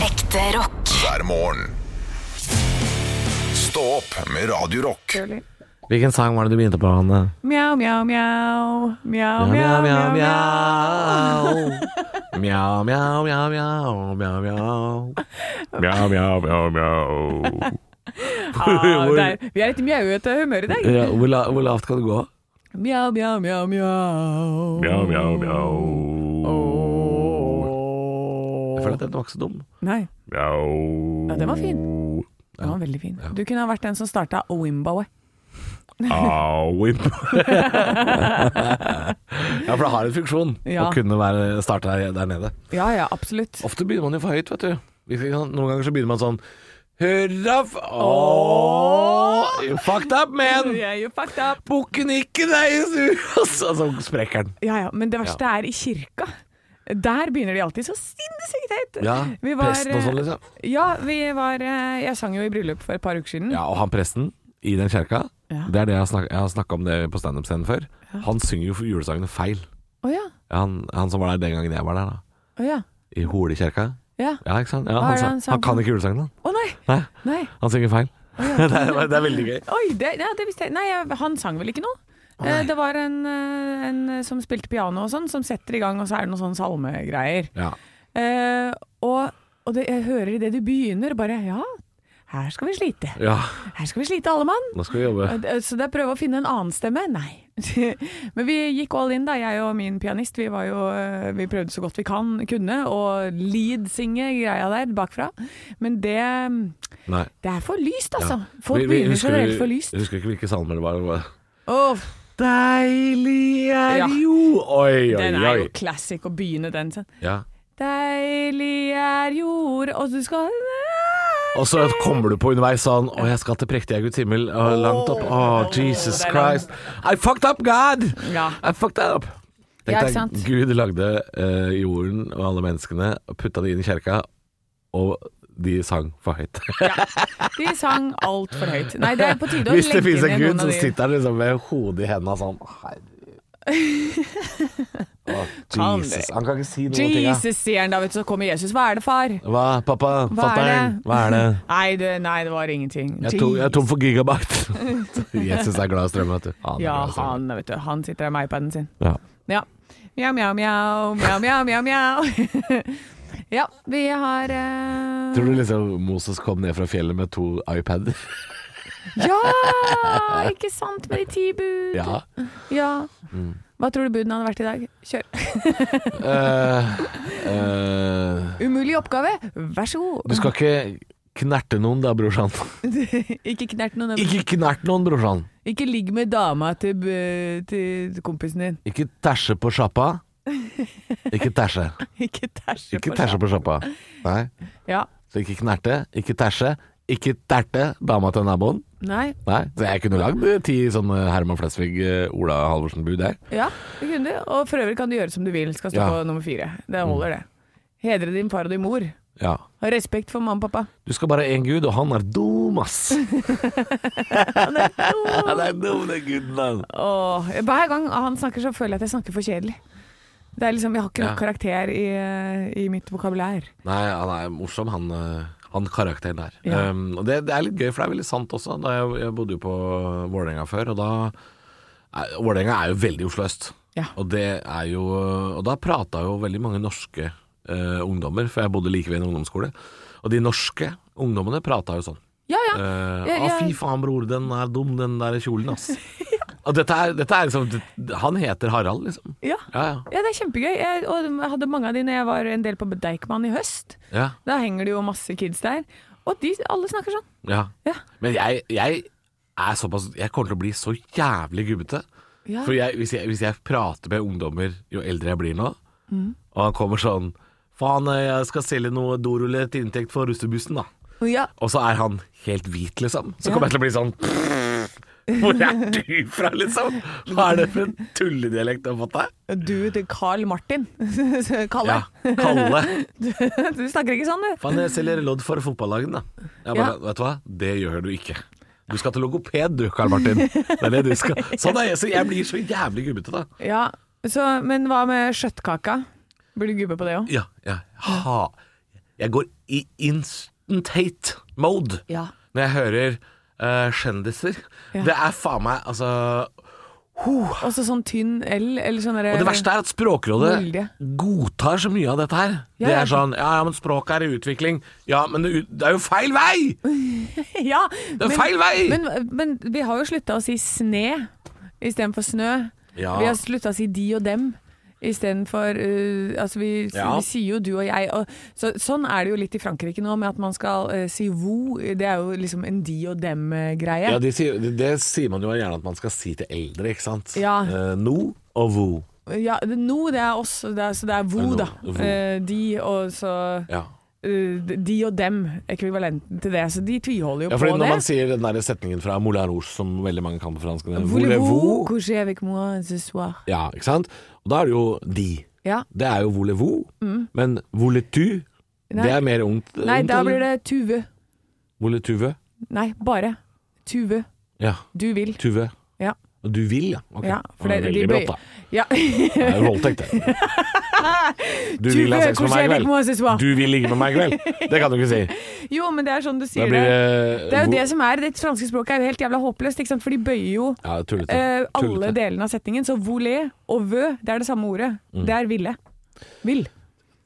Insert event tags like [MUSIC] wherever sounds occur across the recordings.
Ekte rock. hver morgen. Stå opp med Radio Rock. Hvilken sang var det du begynte på, Hanne? Mjau, mjau, mjau. Mjau, Mjau, mjau, mjau, mjau. [LAUGHS] Mjau, mjau, mjau, mjau, mjau, mjau. Mjau, mjau, mjau, mjau. Ah, der. Vi er litt mjauete humør i dag. Ja, hvor, la, hvor lavt kan du gå? Mjau, mjau, mjau, mjau. Mjau, mjau, mjau. Jeg føler Åh. at den var ikke så dum. Nei, Mjau. Ja, den var fin. den var veldig fin. Du kunne ha vært den som starta Owimboe. Au, imp. [LAUGHS] ja, for det har en funksjon Ja. å kunne være- starte der, der nede. Ja ja, absolutt. Ofte begynner man jo for høyt, vet du. Ikke sant? Noen ganger så begynner man sånn Hurra f... Åh, you fucked up, man! [LAUGHS] Yeah, you fucked up. Bukken ikke deg i sur! [LAUGHS] Og så så sprekker den. Ja ja, men det verste er i kirka. Der begynner de alltid så sinnssykt høyt. Ja, Vi var, eh, presten og sånn, liksom. Ja, vi var eh, Jeg sang jo i bryllup for et par uker siden. Ja, og han presten i den kjerka, Ja. det er det jeg har snak- jeg har snakka om det på standup-scenen før, han synger jo for julesangene feil. Å ja. Han, han som var der den gangen jeg var der, da. Å ja. I Holekjerka. ja. Ja, ikke sant? Ja, Hva er det han, han sa- sang han kan for? ikke julesangene, han. Å nei. Nei, Nei. han synger feil. [LAUGHS] det, er, det er veldig gøy. Oi, det, ja, det visste jeg. Nei, jeg- han sang vel ikke noe? Eh, Det var en, eh, en som spilte piano og sånn, som setter i gang, og så er det noen sånne salmegreier. Ja. Eh, og og det, jeg hører idet du begynner, bare ja, her skal vi slite. ja, Her skal vi slite, alle mann. nå skal vi jobbe. Eh, det- Så det er prøve å finne en annen stemme. Nei. [LAUGHS] Men vi gikk all in, da. Jeg og min pianist, vi var jo eh, Vi prøvde så godt vi kan, kunne, å lead-synge greia der bakfra. Men det Nei. Det er for lyst, Ja. altså. Folk Vi- vi- begynner husker generelt vi- for lyst. Jeg husker ikke hvilke salmer det var. det var. Åh, [LAUGHS] Deilig er Ja. jo Oi, oi, Den er jo oi. classic å begynne den sånn. Ja. Deilig er jord Og du skal Og så kommer du på underveis sånn Å, jeg skal til prektige Guds himmel. Å, langt opp. Å, Jesus det er Christ. I fucked up, God! Ja. I fucked that up. Tenk Ja, ikke deg, sant? Gud lagde eh, jorden og alle menneskene, og putta de inn i kjerka, og de sang for høyt. De sang alt for høyt Nei, det er på tide å [LAUGHS] Hvis det legge finnes en ned Gud, noen så av de sitter han liksom med hodet i hendene sånn Herregud. [LAUGHS] Å, Kan det- Jesus. Han kan ikke si noen ting. ja. Jesus sier han da, vet du, så kommer Jesus Hva er det, far? Hva, pappa? Hva er det? Fatter'n? Hva er det? Nei, det, nei, det var ingenting Jeg er, tom, jeg er Jesus. tom for [LAUGHS] gigabyte. [LAUGHS] Jesus er glad i strøm, vet du. Han er Ja, glad i strøm. han, vet du, han sitter der med iPaden sin Ja. Ja Mjau, mjau, mjau Mjau, mjau, mjau, mjau [LAUGHS] Ja, vi har eh, Tror du liksom Moses kom ned fra fjellet med to [LAUGHS] iPader? Ja, ikke sant med de ti bud Ja. Mm. Ja. Hva tror du buden hadde vært i dag? Kjør. Eh, eh, Umulig oppgave, vær så god. du skal ikke knerte noen da, [LAUGHS] brorsan. ikke knert noen. Ikke, Ikke knert noen, brorsan. ikke ligg med dama til, b- til kompisen din. [LAUGHS] Ikke tæsje på sjappa. Ikke [LAUGHS] tæsje. Ikke tæsje Ikke på tæsje seg. på sjappa. Nei. Ja. Så ikke knerte, ikke tæsje, ikke terte dama til naboen. Nei. Nei. Så jeg kunne lagd eh, ti sånne Herman Flesvig, eh, Ola Halvorsen-bud der. Ja, det kunne du. Og for øvrig kan du gjøre som du vil. Skal stå Ja. Mm. på nummer fire. Det holder, det. Hedre din far og din mor. Ja. Ha respekt for mamma og [LAUGHS] pappa. Du skal bare ha én gud, og han er dum, ass. [LAUGHS] han er dum, den guden, altså. han. Åh, hver gang han snakker, så føler jeg at jeg snakker for kjedelig. Det er liksom, Jeg har ikke nok Ja. karakter i, eh, i mitt vokabulær. Nei, han er morsom, han, eh, han karakteren der. Ja. Um, og det, det er litt gøy, for det er veldig sant også. Da jeg, jeg bodde jo på Vålerenga før, og da er- Vålerenga er jo veldig Oslo øst. Ja. Og, det er jo, og da prata jo veldig mange norske eh, ungdommer, for jeg bodde like ved en ungdomsskole. Og de norske ungdommene prata jo sånn. Ja ja. Eh, Jeg- ah, fy jeg- faen, bror, den er dum, den der kjolen, [LAUGHS] ass. Og dette er, dette er liksom det- Han heter Harald, liksom. ja. Ja, ja. Ja, det er kjempegøy. Jeg, og jeg hadde mange av de når jeg var en del på Deichman i høst. ja, Da henger det jo masse kids der. Og de, alle snakker sånn. ja. Ja. Men jeg, jeg er såpass Jeg kommer til å bli så jævlig gubbete. Ja. For jeg, hvis, jeg, hvis jeg prater med ungdommer jo eldre jeg blir nå, Mm. og han kommer sånn Faen, jeg skal selge noe dorulle til inntekt for russebussen, da. Ja. Og så er han helt hvit, liksom. Så Ja. kommer jeg til å bli sånn Hvor er du fra, liksom? Hva er det for en tulledialekt du har fått deg? Du til Carl Martin. [LAUGHS] Kalle. Ja, Kalle. [LAUGHS] Du snakker ikke sånn, du. Faen, jeg selger lodd for fotballagen, da. Jeg bare, Ja. Vet du hva, det gjør du ikke. Du skal til logoped du, Karl Martin. Det er det du skal. Sånn er jeg, så jeg blir så jævlig gubbete, da. Ja, så, Men hva med skjøttkaka? Blir du gubbe på det òg? Ja, ja. Ha. Jeg går i instant-hate mode Ja. når jeg hører eh, kjendiser. Ja. Det er faen meg altså huh. Også sånn tynn L, eller sånn derre Og det verste er at Språkrådet Veldig. godtar så mye av dette her. Ja, det ja. er sånn Ja, ja, men språket er i utvikling. Ja, men det, ut- det er jo feil vei! [LAUGHS] Ja! Det er feil vei! Men, men vi har jo slutta å si sne istedenfor snø. Ja. Vi har slutta å si de og dem istedenfor uh, Altså, vi, Ja. vi sier jo du og jeg. Og, så, sånn er det jo litt i Frankrike nå, med at man skal eh, si vo. Det er jo liksom en de og dem-greie. Ja, de sier, det, det sier man jo gjerne at man skal si til eldre, ikke sant? Ja. Eh, no og vo. Ja, det- no, det er oss, det er, så det er vo, No, da. vo. Eh, de og så Ja. eh, De og dem, ekvivalenten til det. Så de tviholder jo ja, på fordi det. når man sier den der setningen fra Moulin Rouge, som veldig mange kan på fransk det er Voulez-vous voulez-vous. coucher avec moi ce soir? Ja, ikke sant? Og da er det jo de. Ja. Det er jo voulez-vous, men voulez-tu, Mm. Nei. det er mer ungt. Nei, ungt, da eller? blir det tuve. Voulez-tuve. Nei, bare tuve. Ja, Du vil. tuve. Ja. Og du vil, ja. Ok. Ja, for det det- er de veldig bøy- brått, da. [LAUGHS] Ja. Det er jo [LAUGHS] voldtekt, det. Du Tuve, vil ha sex med meg i coucher avec moi kveld. ce soir. Du vil ligge med meg i kveld. Det kan du ikke si. Jo, men det er sånn du Da [LAUGHS] sier blir det. det Det er jo det som er Det franske språket er jo helt jævla håpløst, ikke sant? for de bøyer jo Ja, tullete. eh, alle Tullete. delene av setningen. Så voulé og vø, det er det samme ordet. Mm. Det er ville. Vil.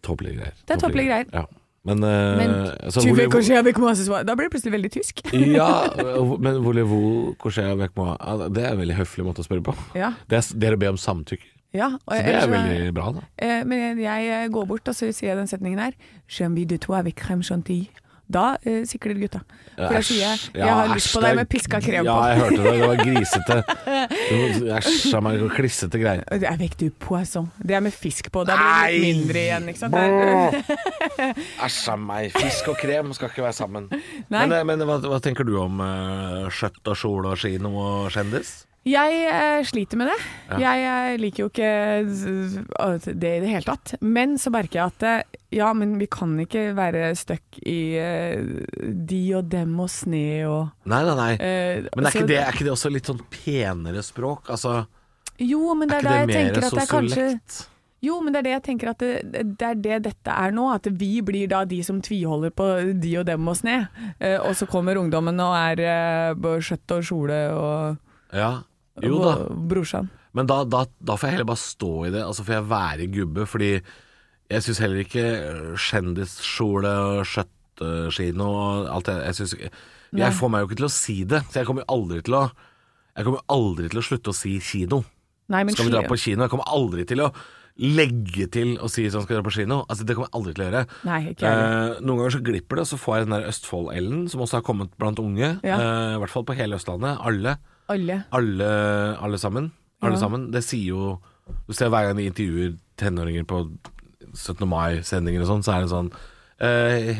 Tåpelige greier. Det er tåpelige greier. Ja. Men, eh, Men så tuve, voulez-vous- coucher avec moi ce soir. Da blir det plutselig veldig tysk. [LAUGHS] Ja, men voulez-vous coucher avec moi? Ja, Det er en veldig høflig måte å spørre på. Ja. Det er, det er å be om samtykke. ja. og Så det ellers er så- veldig bra, da. Eh, men jeg, jeg går bort, og så sier jeg den setningen her. Je envie de toi avec crème chantilly. Da eh, sikler det gutta. For jeg Æsj. sier jeg, Ja, har lyst æsj, på det deg er- med piska krem Ja, på. jeg hørte det. Det var [LAUGHS] grisete. Det var- Æsj av meg, og klissete greier. Det er vekk du poisson. Det er med fisk på. Da blir det litt Nei! mindre igjen, ikke sant? eh, Det er- Brr. Æsj av meg. Fisk og krem skal ikke være sammen. Nei. Men, eh, men hva, hva tenker du om eh, skjøtt og kjole og kino og kjendis? Jeg eh, sliter med det. Jeg eh, liker jo ikke s- at det i det hele tatt. Men så merker jeg at eh, ja, men vi kan ikke være stuck i eh, de og dem og sne og Nei, nei, nei. eh, Men er så- ikke, det, er ikke det også litt sånn penere språk? Altså, Jo, men det er er, ikke da det jeg mer tenker at det er kanskje sosiolekt? Jo, men det er det jeg tenker at det, det er det dette er nå. At vi blir da de som tviholder på de og dem og sne. Eh, og så kommer ungdommen og er eh, på skjøtt og kjole og, Ja. Jo da. og brorsan. Men da, da, da får jeg heller bare stå i det, altså får jeg være gubbe, fordi jeg syns heller ikke øh, kjendiskjole og skjøttekino og alt det Jeg, synes, jeg får meg jo ikke til å si det, så jeg kommer jo aldri til å Jeg kommer jo aldri til å slutte å si kino. Nei, men Skal vi dra sli- på kino? Jeg kommer aldri til å legge til å si sånn skal vi dra på kino. Altså Det kommer jeg aldri til å gjøre. Nei, ikke jeg eh, noen ganger så glipper det, og så får jeg den der Østfold-L-en som også har kommet blant unge. Ja. eh, I hvert fall på hele Østlandet. Alle alle. alle, alle sammen. Alle Ja. sammen. Det sier jo Du ser hver gang de intervjuer tenåringer på 17. mai-sendinger og sånn, så er det sånn eh,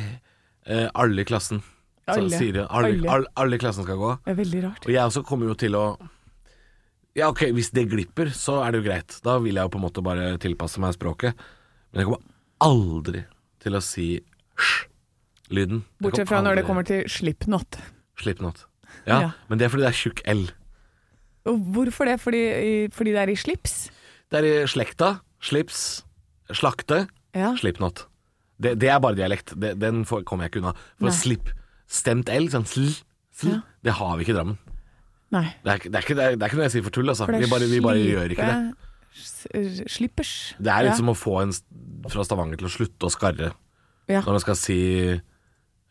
eh, Alle i klassen. Så Alle. sier de. Alle, Alle. alle. alle i klassen skal gå. Det er veldig rart. Og jeg også kommer jo til å Ja, ok, hvis det glipper, så er det jo greit. Da vil jeg jo på en måte bare tilpasse meg språket. Men jeg kommer aldri til å si sj-lyden. Jeg Bortsett fra når det kommer til Slipknot. aldri- Slipknot. Ja, Ja. men det er fordi det er tjukk L. Og hvorfor det? Fordi, i- fordi det er i slips? Det er i slekta, slips, slakte, Ja. slipknot. Det, det er bare dialekt. Det, den får- kommer jeg ikke unna. For Nei. slipp, stemt L, sånn sl, sl, Ja. det har vi ikke i Drammen. Nei. Det er, ikke- det, er ikke, det, er, det er ikke noe jeg sier for tull, altså. For det er Vi bare, vi bare gjør ikke det. slipe- s- Slippers. Det er litt ja. som å få en s- fra Stavanger til å slutte å skarre Ja. når man skal si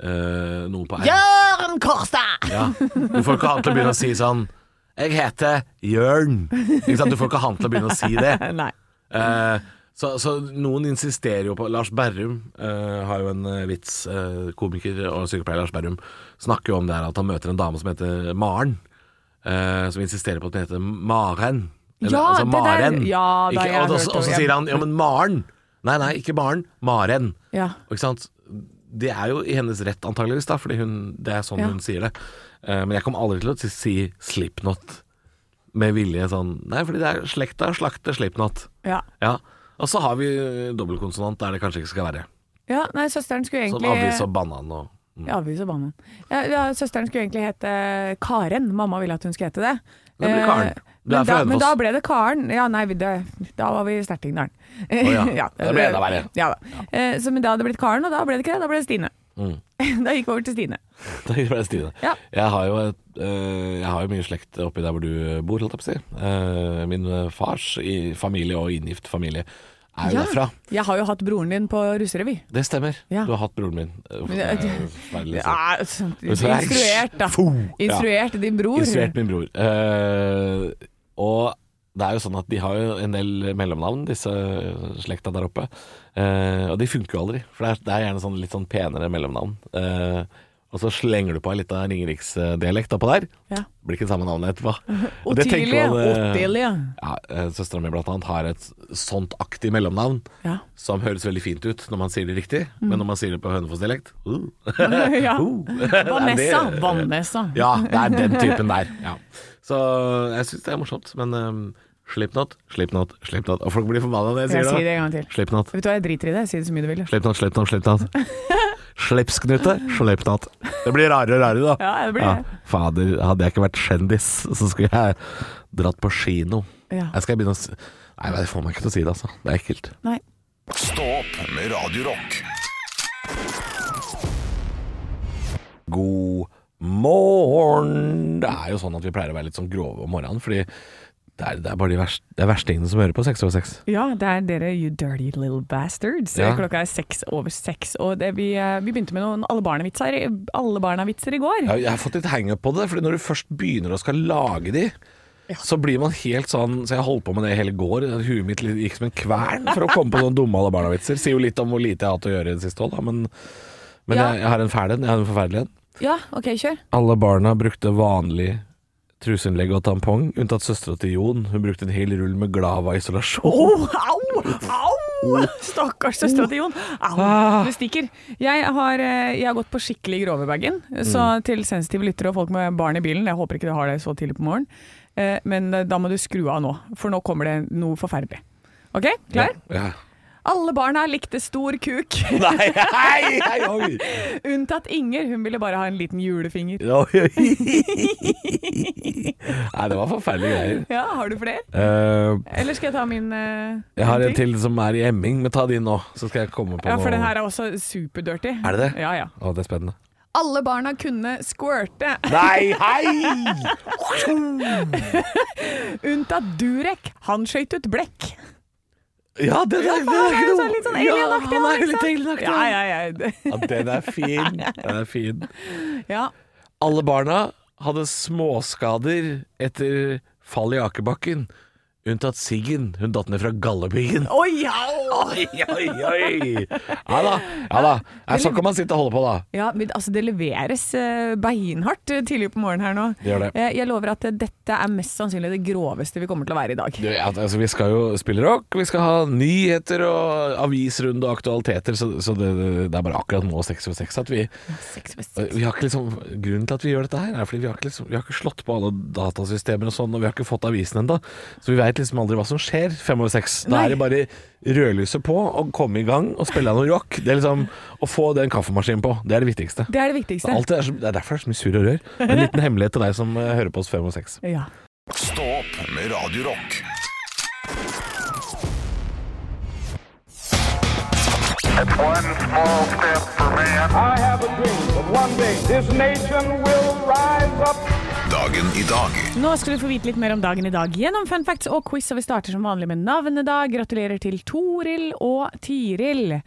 eh, noe på R. Jørn Kårstad! Ja. Du får ikke han til å begynne å si sånn Jeg heter Jørn. Ikke sant? Du får ikke han til å begynne å si det. Nei. Eh, så, så noen insisterer jo på Lars Berrum eh, har jo en eh, vits. eh, komiker og sykepleier Lars Berrum snakker jo om det her at han møter en dame som heter Maren. eh, som insisterer på at hun heter Maren. altså Ja, det der- ja, da, ikke, jeg har og, hørt og, og, det, så ja. sier han ja, men Maren. Nei, nei, ikke Maren. Maren. Ja. Ikke sant? Det er jo i hennes rett antageligvis, da, fordi hun, det er sånn Ja. hun sier det. Eh, men jeg kommer aldri til å si- si Slipknot med vilje sånn. Nei, fordi det er slekta slakter Slipknot. ja. Ja, og så har vi eh, dobbeltkonsonant der det kanskje ikke skal være. ja. Nei, søsteren skulle Som egentlig avis og banan og [LAUGHS] mm. Ja, vi så banen. Ja, ja, søsteren skulle egentlig hete Karen. Mamma ville at hun skulle hete det. Det blir Karen. Eh, Du Men er fra da, men da Hønefoss. ble det Karen. Ja, nei, vi- det, da var vi i Snertingdalen. [LAUGHS] ja. Da ble det enda verre. Ja da. Eh, Så, men da hadde det blitt Karen, og da ble det ikke det. Da ble det Stine. Mm. [LAUGHS] Da gikk vi over til Stine. Da gikk det bare Stine. Ja. Jeg, har jo et, eh, jeg har jo mye slekt oppi der hvor du bor, holdt jeg på å si. Eh, min fars i familie og inngift familie er jo Ja. derfra. Jeg har jo hatt broren din på russerevy. Det stemmer. Ja. Du har hatt broren min. Eh, Men jeg- det er jo forferdelig, så. Ja, sånn, så er jeg- instruert, da. Fo! Ja. Instruert din bror. Instruert min bror. Eh, og det er jo sånn at de har jo en del mellomnavn, disse slekta der oppe. Eh, og de funker jo aldri, for det er, det er gjerne sånn litt sånn penere mellomnavn. Eh, og så slenger du på litt av ringeriksdialekt oppå der. Ja. Blir ikke det samme navnet etterpå. Mhm. Og det tenker Otilie. man, eh, Otilie. Ja, Søstera mi blant annet har et sånt aktig mellomnavn [LAUGHS] Ja. [LAUGHS] som høres veldig fint ut når man sier det riktig, men Mhm. når man sier det på Hønefoss-dialekt uh. [LAUGHS] ja. Uh. Ah, Vanessa. Det- Vanessa. Ja, det er den typen der. Ja. Så jeg syns det er morsomt, men um, Slipknot, Slipknot, Slipknot. Og folk blir forbanna når jeg Jeg sier sier det. det en gang til. Slipknot, Vet du hva, jeg driter i det. Si det så mye du vil. Slipknot, Slipknot, Slipknot. Slipsknute, Slipknot. Det blir rarere og rarere, da. Ja, det blir det. Fader, hadde jeg ikke vært kjendis, så skulle jeg dratt på kino. Ja. Jeg skal begynne å s- Nei, det får meg ikke til å si det, altså. Det er ekkelt. Nei. Stå opp med Radio Rock. God morgen! Det er jo sånn at vi pleier å være litt sånn grove om morgenen, fordi det er, det er bare de verst, det er verstingene som hører på seks over seks. Ja, det er dere you dirty little bastards. Ja. Klokka er seks over seks, og det, vi, eh, vi begynte med noen alle barna-vitser alle barna-vitser i går. Jeg, jeg har fått litt hangup på det, Fordi når du først begynner å skal lage de, så blir man helt sånn Så jeg holdt på med det i hele går. Huet mitt litt- gikk som en kvern for å komme på sånne dumme alle barna-vitser. Sier jo litt om hvor lite jeg har hatt å gjøre i det siste òg, da, men, men Ja. jeg, jeg har en fæl en. Jeg har en forferdelig en. Ja, OK, kjør. Alle barna brukte vanlig truseinnlegg og tampong, unntatt søstera til Jon. Hun brukte en hel rull med Glava isolasjon. Au! Au! au. Stakkars søstera til Jon. Au! Ah. Det stikker. Jeg har, eh, jeg har gått på skikkelig grovebagen, så Mm. til sensitive lyttere og folk med barn i bilen, jeg håper ikke du har det så tidlig på morgenen, eh, men eh, da må du skru av nå, for nå kommer det noe forferdelig. OK, klar? Ja. Alle barna likte stor kuk, [LAUGHS] Nei, hei, hei, oi. [LAUGHS] unntatt Inger. Hun ville bare ha en liten julefinger. Oi, oi. Nei, det var forferdelige greier. Ja, har du flere? Eh, Eller skal jeg ta min eh, jeg har en ting? til som er i emming, men ta din nå, så skal jeg komme på Ja, for noe. den her er også superdirty. Er det det? Ja, ja. Å, det er spennende. Alle barna kunne squirte, [LAUGHS] Nei, hei! unntatt Durek. Han skøyt ut blekk. Ja, det, er- Han det er er ikke jo noe sånn litt sånn Ja, alienaktig, han han, er ikke litt sant? alienaktig. Ja, ja, ja. [LAUGHS] Ja, den er fin. Den er fin. ja. Alle barna hadde småskader etter fall i akebakken, unntatt Siggen. Hun datt ned fra gallepiggen. Oi, au! Oi, oi, oi! Ja da. Ja, da. Ja, sånn kan man sitte og holde på, da. Ja, men altså det leveres eh, beinhardt eh, tidlig på morgenen her nå. Det gjør det. Eh, Jeg lover at eh, dette er mest sannsynlig det groveste vi kommer til å være i dag. Du, ja, altså, vi skal jo spille rock, vi skal ha nyheter og avisrunde og aktualiteter, så, så det, det er bare akkurat nå 6 over 6 at vi, Seks over seks. vi har ikke liksom, Grunnen til at vi gjør dette her, er fordi vi har ikke, liksom, vi har ikke slått på alle datasystemer og sånn, og vi har ikke fått avisen ennå, så vi veit liksom aldri hva som skjer 5 over 6. Da Nei. er det bare rødlyset på, og komme i gang og spille av noe rock. Det er liksom Å få den kaffemaskinen på, det er det viktigste. Det er det viktigste. Alt det, er så, det er derfor det er så mye surr og rør. En liten hemmelighet til deg som eh, hører på oss 5 og 6. Ja. Stå opp med Radio Rock. One small step for man. I have a dream that one day this nation will rise up. Dagen i dag. Nå skal du få vite litt mer om dagen i dag gjennom fun facts og quiz, og vi starter som vanlig med navnedag. Gratulerer til Toril og Tiril.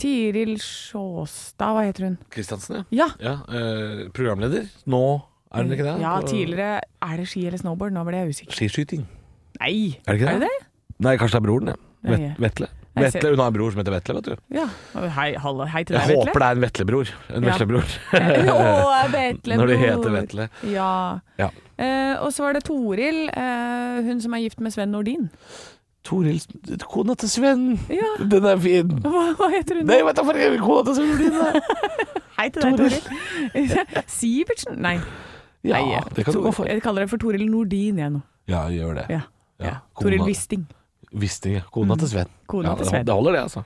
Tiril Sjåstad, hva heter hun? Kristiansen, ja. Ja. Ja, eh, programleder. Nå er den ikke det? Ja, På tidligere Er det ski eller snowboard? Nå ble jeg usikker. Skiskyting. Nei! Er det ikke Er det det? det? Nei, kanskje det er broren, ja. Nei, Vet- ja. Vetle. Jeg ser- Vetle, Hun har en bror som heter Vetle, vet du. Ja. Hei, hallo, hei til Jeg deg, Vetle. [LAUGHS] håper det er en Vetle-bror. En Ja. Vetle-bror. [LAUGHS] Å, Vetle. [LAUGHS] Når de bror. heter Vetle. Ja. Ja. Eh, og så var det Toril, eh, hun som er gift med Sven Nordin. Toril, kona til Sven. Ja, Den er fin. hva, hva heter hun? Nei, vet du hva det er kona til Sven blir, da? Hei til deg, Toril. [LAUGHS] Sivertsen? Nei. Nei, Ja, det kan du Tor- gå for. Jeg kaller det for Toril Nordin, jeg nå. Ja, gjør det. Ja. Ja, ja. kona- Toril Wisting. Visste ikke. Kona til Sven. Kona Ja, til det- Sven. Det holder, det, altså.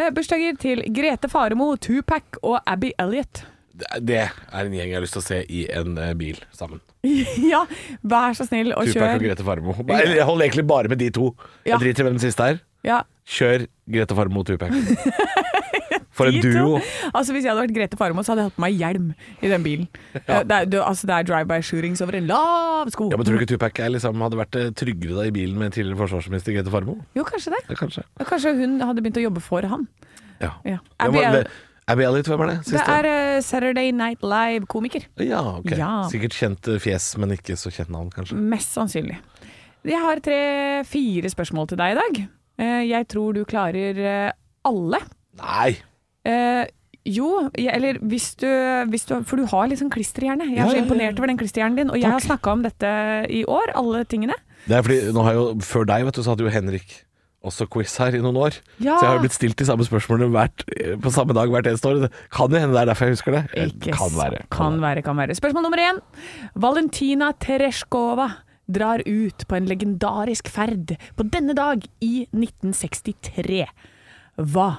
Eh, bursdager til Grete Faremo, Tupac og Abby Elliot. Det er en gjeng jeg har lyst til å se i en eh, bil sammen. [LAUGHS] ja, vær så snill og Tupac kjør. og Grete Farmo. Bare- Jeg holder egentlig bare med de to. Ja. Jeg driter i hvem den siste er. Ja, Kjør Grete Farmo og [LAUGHS] Tupac. For en de to. duo. Altså, hvis jeg hadde vært Grete Farmo, så hadde jeg hatt på meg hjelm i den [LAUGHS] bilen. Det, er, du- altså, det er drive-by-shootings over en lav sko. Ja, men Tror du ikke Tupac er liksom, hadde vært eh, tryggere da i bilen med tidligere forsvarsminister Grete Farmo? Jo, kanskje det. Ja, kanskje. Kanskje hun hadde begynt å jobbe for han. Ja. Ja. Hvem var- Abby- Abby Elliot, hvem er det? Det Siste? er eh, Saturday Night Live-komiker. Ja, ok. Ja. Mm. Sikkert kjent eh, fjes, men ikke så kjent navn, kanskje. Mest sannsynlig. Jeg har tre-fire spørsmål til deg i dag. Eh, Jeg tror du klarer eh, alle. Nei! Eh, jo, jeg- eller hvis du, hvis du For du har litt sånn klisterhjerne. Jeg er Ja, så ja, ja. imponert over den klisterhjernen din. Og jeg har snakka om dette i år, alle tingene. Det er fordi, nå har jo, Før deg vet du, så hadde jo Henrik også quiz her i noen år. Ja. Så jeg har jo blitt stilt de samme spørsmålene hvert, eh, på samme dag hvert eneste år. Det kan jo hende det er derfor jeg husker det. Ikke kan være. sant. Kan være, kan være. Spørsmål nummer én. Valentina Tereshkova drar ut på en legendarisk ferd på denne dag i 1963. Hva?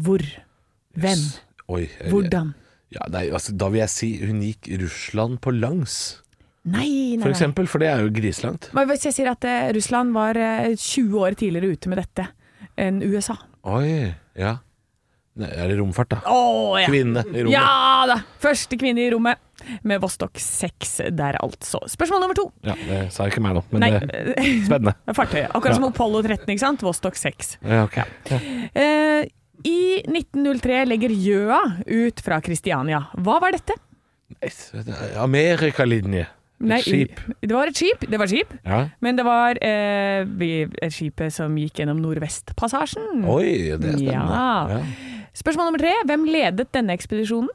Hvor? Hvem? Oi, eh, Hvordan? Ja, nei, altså, da vil jeg si hun gikk Russland på langs, Nei, nei, for nei. eksempel. For det er jo grislangt. Men Hvis jeg sier at eh, Russland var eh, 20 år tidligere ute med dette enn USA Oi, ja. Nei, er det romfart, da? Åh, ja. Kvinne i rommet. Ja da! Første kvinne i rommet med Vostok 6 der, altså. Spørsmål nummer to. Ja, Det sa ikke meg nå, men Nei, det [LAUGHS] er spennende. fartøyet. Akkurat som Ja. Apollo 13, ikke sant? Vostok 6. Ja, ok. Ja. Eh, I 1903 legger Gjøa ut fra Kristiania. Hva var dette? Amerikalinje. Nei, Et skip. Det var et skip. Det var et skip. Ja. Men det var eh, vi- et skipet som gikk gjennom Nordvestpassasjen. Oi, det er spennende. Ja. Spørsmål nummer tre. Hvem ledet denne ekspedisjonen?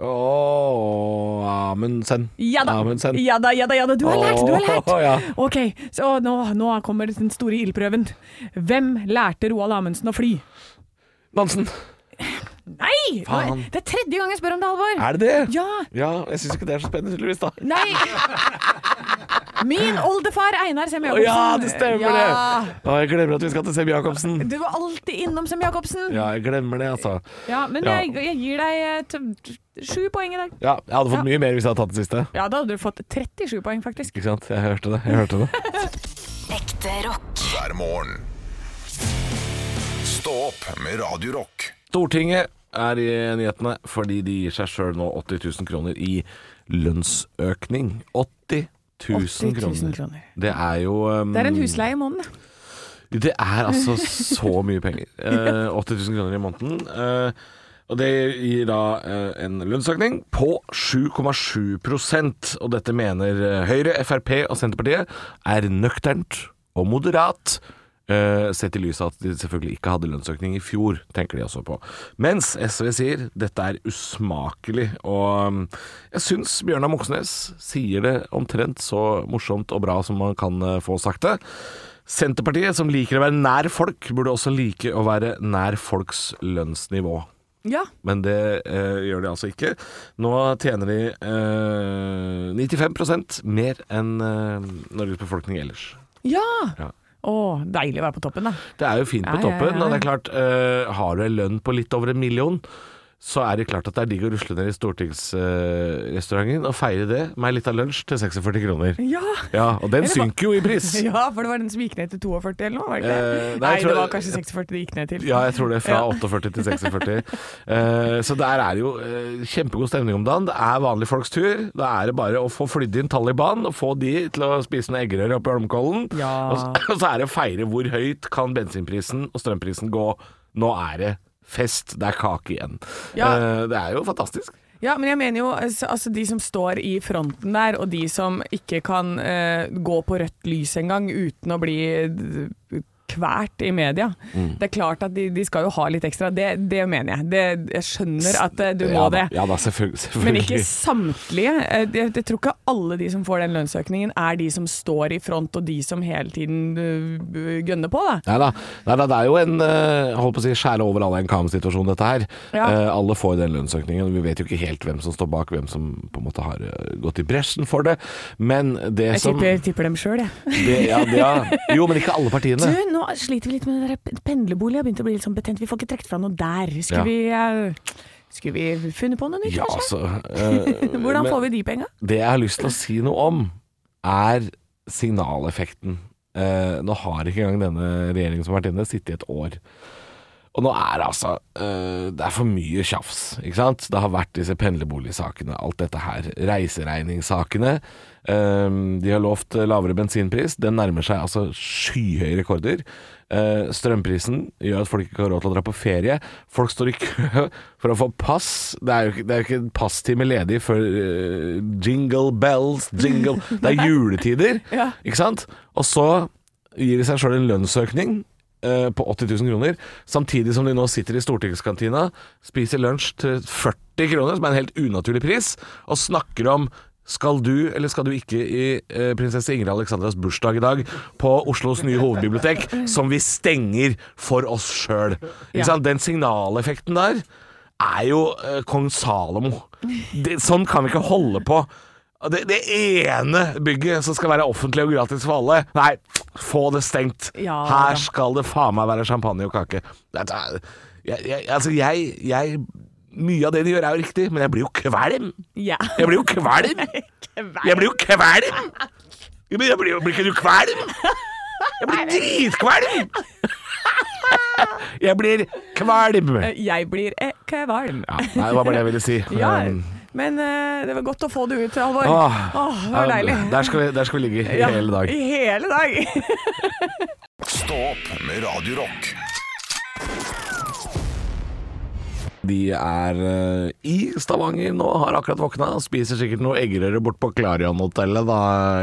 Åh, Amundsen. Ja da. Amundsen. ja da, ja da, ja da. Du har lært, du har lært. Åh, ja. Ok, så nå, nå kommer den store ildprøven. Hvem lærte Roald Amundsen å fly? Nansen. Nei! Faen. Det er tredje gang jeg spør om det, Halvor. Er det det? Ja, Ja, jeg syns ikke det er så spennende, tydeligvis, da. nei. Min oldefar Einar Sem Jacobsen. ja, det stemmer Ja. det! Å, jeg glemmer at vi skal til Sem Jacobsen. Du var alltid innom Sem Jacobsen. Ja. Ja, jeg glemmer det, altså. men Ja. Jeg, jeg gir deg eh, t- t- sju poeng i dag. Ja, jeg hadde fått Ja. mye mer hvis jeg hadde tatt den siste. Ja, da hadde du fått 37 poeng, faktisk. Ikke sant? Jeg hørte det. Jeg hørte det. Ekte rock. hver morgen. Stå opp med Radio Rock. [LAUGHS] Stortinget er i nyhetene fordi de gir seg sjøl nå 80 000 kroner i lønnsøkning. 80 000 80 000 kroner. Det er jo um, Det er en husleie i måneden. ja. Det er altså så mye penger. Eh, 80 000 kroner i måneden. Eh, og det gir da eh, en lønnsøkning på 7,7 Og dette mener eh, Høyre, Frp og Senterpartiet er nøkternt og moderat. eh, sett i lys av at de selvfølgelig ikke hadde lønnsøkning i fjor, tenker de også på. Mens SV sier dette er usmakelig, og mm, jeg syns Bjørnar Moxnes sier det omtrent så morsomt og bra som man kan eh, få sagt det. Senterpartiet, som liker å være nær folk, burde også like å være nær folks lønnsnivå. Ja. Men det eh, gjør de altså ikke. Nå tjener de eh, 95 mer enn eh, Norges befolkning ellers. Ja. Ja. Å, deilig å være på toppen, da. Det er jo fint på Ja, ja, toppen, ja. og det er klart, eh, har du en lønn på litt over en million, så er det klart at det er digg å rusle ned i stortingsrestauranten og feire det med litt av lunsj til 46 kroner. Ja. Ja, og den Eller bare- synker jo i pris. [LAUGHS] Ja, for det var den som gikk ned til 42 eller noe, var det ikke det? Eh, nei, jeg nei, tror- det var kanskje 46 det gikk ned til. Ja, jeg tror det. Fra Ja. 48 til 46. Eh, så der er det jo eh, kjempegod stemning om dagen. Det er vanlige folks tur. Da er det bare å få flydd inn Taliban og få de til å spise noen eggerøre oppe i Holmenkollen. Ja. Og, så- [LAUGHS] og så er det å feire hvor høyt kan bensinprisen og strømprisen gå. Nå er det fest. Det er kake igjen. Ja. Eh, det er jo fantastisk. Ja, men jeg mener jo altså, altså, de som står i fronten der, og de som ikke kan eh, gå på rødt lys engang uten å bli d- kvært i media. Mm. Det er klart at de, de skal jo ha litt ekstra. Det, det mener jeg. Det, jeg skjønner at eh, du må ja, da. det. Ja da, [LAUGHS] selvfølgelig. selvfølgelig. [LAUGHS] Men ikke samtlige. Eh, Jeg, jeg tror ikke alle de som får den lønnsøkningen er de som står i front og de som hele tiden eh, gønner på, da. Nei da, det er jo en eh, holdt på å si, skjære over alle en kam-situasjon, dette her. Ja. Eh, alle får den lønnsøkningen. Vi vet jo ikke helt hvem som står bak, hvem som på en måte har eh, gått i bresjen for det. Men det Jeg som tipper, tipper dem sjøl, jeg. det, ja, det, ja. Jo, men ikke alle Du, partiene. nå sliter vi litt med den der pendlerbolig. Jeg har begynt å bli litt sånn betent. Vi får ikke trukket fra noe der. Skulle Ja. vi eh, Skulle vi funnet på noe nytt, Ja, kanskje? altså. eh, Hvordan men får vi de penga? Det jeg har lyst til å si noe om, er signaleffekten. Eh, nå har ikke engang denne regjeringen som har vært inne, sittet i et år. Og nå er det altså eh, Det er for mye tjafs, ikke sant? Det har vært disse pendlerboligsakene, alt dette her. Reiseregningssakene. Eh, de har lovt lavere bensinpris. Den nærmer seg altså skyhøye rekorder. Eh, strømprisen gjør at folk ikke har råd til å dra på ferie. Folk står i kø for å få pass. Det er jo ikke, det er jo ikke en passtime ledig før eh, jingle bells, jingle Det er juletider, Ja. ikke sant? Og så gir de seg sjøl en lønnsøkning eh, på 80 000 kroner, samtidig som de nå sitter i stortingskantina, spiser lunsj til 40 kroner, som er en helt unaturlig pris, og snakker om skal du eller skal du ikke i eh, prinsesse Ingrid Alexandras bursdag i dag på Oslos nye hovedbibliotek, som vi stenger for oss sjøl? Ja. Den signaleffekten der er jo eh, kong Salomo. Det, sånn kan vi ikke holde på. Det, det ene bygget som skal være offentlig og gratis for alle Nei, få det stengt. Ja, da. Her skal det faen meg være champagne og kake. Det er- Jeg, jeg, altså jeg, jeg Mye av det de gjør, er jo riktig, men jeg blir jo kvalm. [LAUGHS] Ja. Jeg blir jo kvalm! Jeg blir jo kvalm! Jo, men Jeg blir jo blir ikke du kvalm? Jeg blir dritkvalm! Jeg blir kvalm. Jeg blir eh, kvalm. Ja, nei, det var bare det jeg ville si. [LAUGHS] Ja, Um, Ah, men eh, det var godt å få det ut, Halvor. Åh, åh, det var deilig. Der skal vi, der skal vi ligge i Ja, hele dag. I hele dag. Stå opp med Radio Rock. De er eh, i Stavanger nå, har akkurat våkna. Spiser sikkert noe eggerøre bort på Klarion-hotellet, da,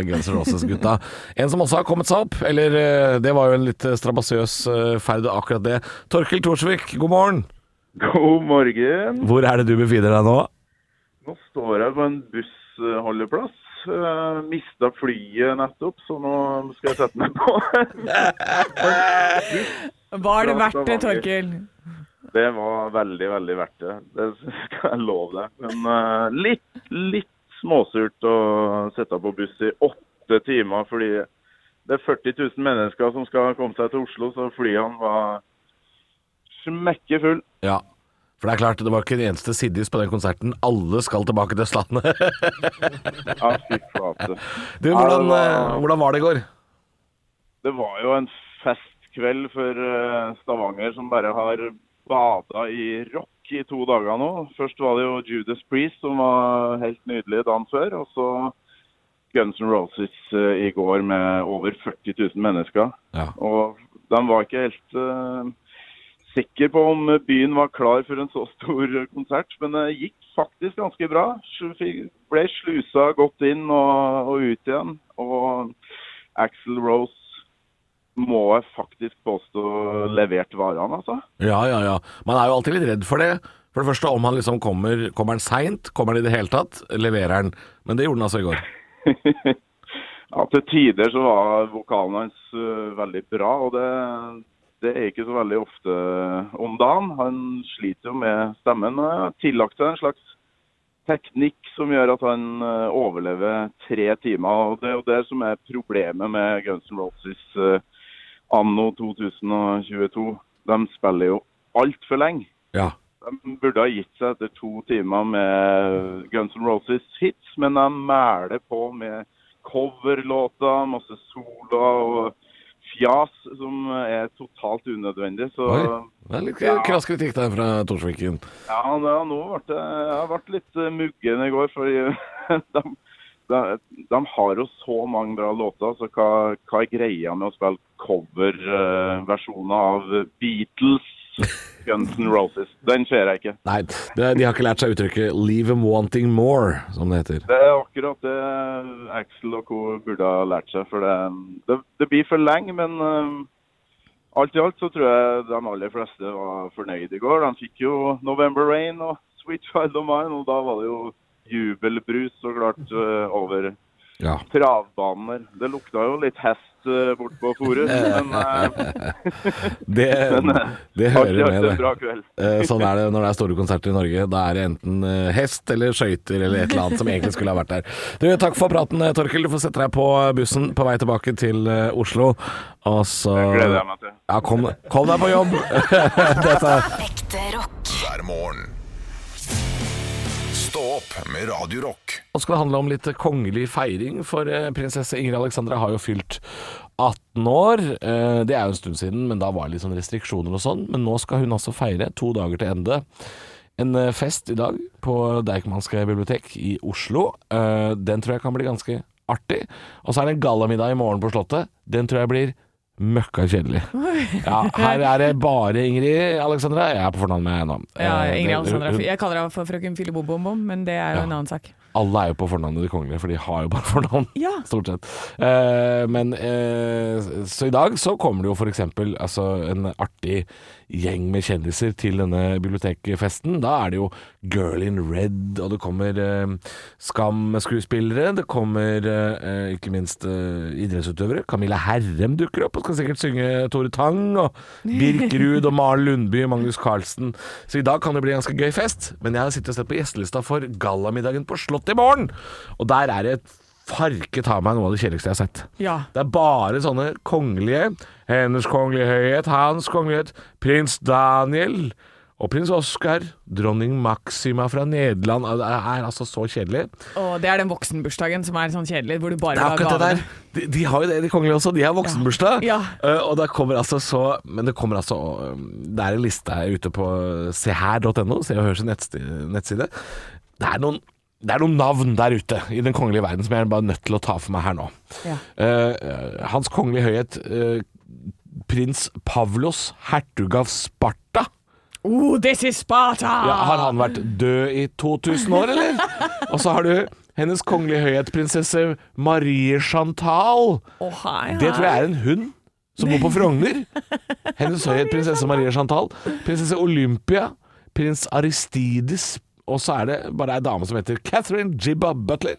Guns N' Roses-gutta. [LAUGHS] En som også har kommet seg opp, eller eh, det var jo en litt eh, strabasiøs eh, ferd, akkurat det. Torkil Thorsvik, god morgen. God morgen. Hvor er det du befinner deg nå? Nå står jeg på en bussholdeplass. Uh, Mista flyet nettopp, så nå skal jeg sette meg på. [LAUGHS] Var det verdt Fra det, Stavanger. [LAUGHS] Torkil? Det var veldig, veldig verdt det. Det skal jeg love deg. Men eh, litt, litt småsurt å sitte på buss i åtte timer, fordi det er 40 000 mennesker som skal komme seg til Oslo, så flyene var smekke full. Ja. For det er klart, det var ikke en eneste siddis på den konserten. Alle skal tilbake til Østlandet. Ja, fy flate. [LAUGHS] Du, hvordan, eh, hvordan var det i går? Det var jo en festkveld for eh, Stavanger som bare har bada i rock i to dager nå. Først var det jo Judas Priest som var helt nydelig dagen før, og så Guns N' Roses eh, i går med over 40 000 mennesker. Ja. Og de var ikke helt eh, sikre på om byen var klar for en så stor konsert, men det gikk faktisk ganske bra. Slu- fikk- Ble slusa godt inn og, og ut igjen. Og Axel Rose må jeg faktisk påstå leverte varene, altså. Ja, ja, ja. Man er jo alltid litt redd for det. For det første, om han liksom kommer Kommer han seint? Kommer han i det hele tatt? Leverer han? Men det gjorde han altså i går. [LAUGHS] Ja, til tider så var vokalen hans øh, veldig bra, og det, det er ikke så veldig ofte om dagen. Han sliter jo med stemmen og har tillagt seg en slags teknikk som gjør at han øh, overlever tre timer. og Det er jo det som er problemet med Guns N' Roses øh, anno 2022. De spiller jo altfor lenge. Ja. De burde ha gitt seg etter to timer med Guns N' Roses hits, men de mæler på med coverlåter, masse soloer og fjas som er totalt unødvendig. Så Oi. Det er litt eh, krass kritikk der fra Torsviken. ja, nå nå ble det, jeg ble litt eh, muggen i går, for [LAUGHS] de, de, de har jo så mange bra låter. Så hva, hva er greia med å spille coverversjoner av Beatles, Guns N' Roses? Den ser jeg ikke. Nei, det, de har ikke lært seg uttrykket 'leave them wanting more', som det heter. Det er akkurat det Axel og co. burde ha lært seg. For det, det, det blir for lenge, men eh, alt i alt så tror jeg de aller fleste var fornøyd i går. De fikk jo 'November Rain' og 'Sweet Child of Mine', og da var det jo jubelbrus så klart eh, over Ja. travbaner. Det lukta jo litt hest eh, bort på Forus, men eh, Det, det alt i hører alt med, en det. bra kveld. Eh, Sånn er det når det er store konserter i Norge. Da er det enten eh, hest eller skøyter eller et eller annet som egentlig skulle ha vært der. Du, takk for praten, eh, Torkil. Du får sette deg på eh, bussen på vei tilbake til eh, Oslo. Og så Det gleder jeg meg til. Ja, kom, kom deg på jobb! Dette er Ekte rock. hver morgen. Stå opp med Radio Rock. Nå skal det handle om litt kongelig feiring, for eh, prinsesse Ingrid Alexandra har jo fylt 18 år. Eh, Det er jo en stund siden, men da var det litt sånn restriksjoner og sånn. Men nå skal hun altså feire, to dager til ende, en eh, fest i dag på Deichmanske bibliotek i Oslo. Eh, Den tror jeg kan bli ganske artig. Og så er det en gallamiddag i morgen på Slottet. Den tror jeg blir møkka kjedelig. Ja, her er det bare Ingrid Alexandra. Jeg er på fornavn med henne nå. Ja, Eh, Ingrid det- Alexandra. hun- Jeg kaller henne for frøken Filibobom, men det er jo en annen sak. alle er jo på fornavnet de kongelige, for de har jo bare fornavn, Ja. stort sett. Eh, men eh, Så i dag så kommer det jo f.eks. Altså, en artig gjeng med kjendiser til denne bibliotekfesten. Da er det jo Girl in Red, og det kommer eh, Skam-skuespillere. Det kommer eh, ikke minst eh, idrettsutøvere. Camilla Herrem dukker opp og skal sikkert synge Tore Tang. Og Birkerud og Maren Lundby og Magnus Carlsen. Så i dag kan det bli en ganske gøy fest. Men jeg har sittet og sett på gjestelista for gallamiddagen på Slottet i morgen. Og der er det farke ta meg noe av det kjedeligste jeg har sett. Ja. Det er bare sånne kongelige. Hennes kongelige høyhet, hans kongelighet, prins Daniel og prins Oscar. Dronning Maxima fra Nederland. Det er altså så kjedelig. Og det er den voksenbursdagen som er sånn kjedelig, hvor du bare Det er vil ha akkurat gavene. det der. De, de har jo det, de kongelige også. De har voksenbursdag. Ja. Eh, og det kommer altså så Men det kommer altså eh, Det er en liste her ute på seher.no, Se og Hørs nettside. nettside. Det, er noen, det er noen navn der ute i den kongelige verden som jeg er bare nødt til å ta for meg her nå. Ja. Eh, eh, Hans Kongelige Høyhet eh, prins Pavlos, hertug av Sparta. Oh, this is Sparta! Ja, har han vært død i 2000 år, [LAUGHS] eller? Og så har du Hennes Kongelige Høyhet prinsesse Marie Chantal. Å, hei, hei. Det tror jeg er en hund som bor på [LAUGHS] Frogner. Hennes høyhet prinsesse Maria Chantal. Prinsesse Olympia. Prins Aristides. Og så er det bare ei dame som heter Catherine Jibba Butler.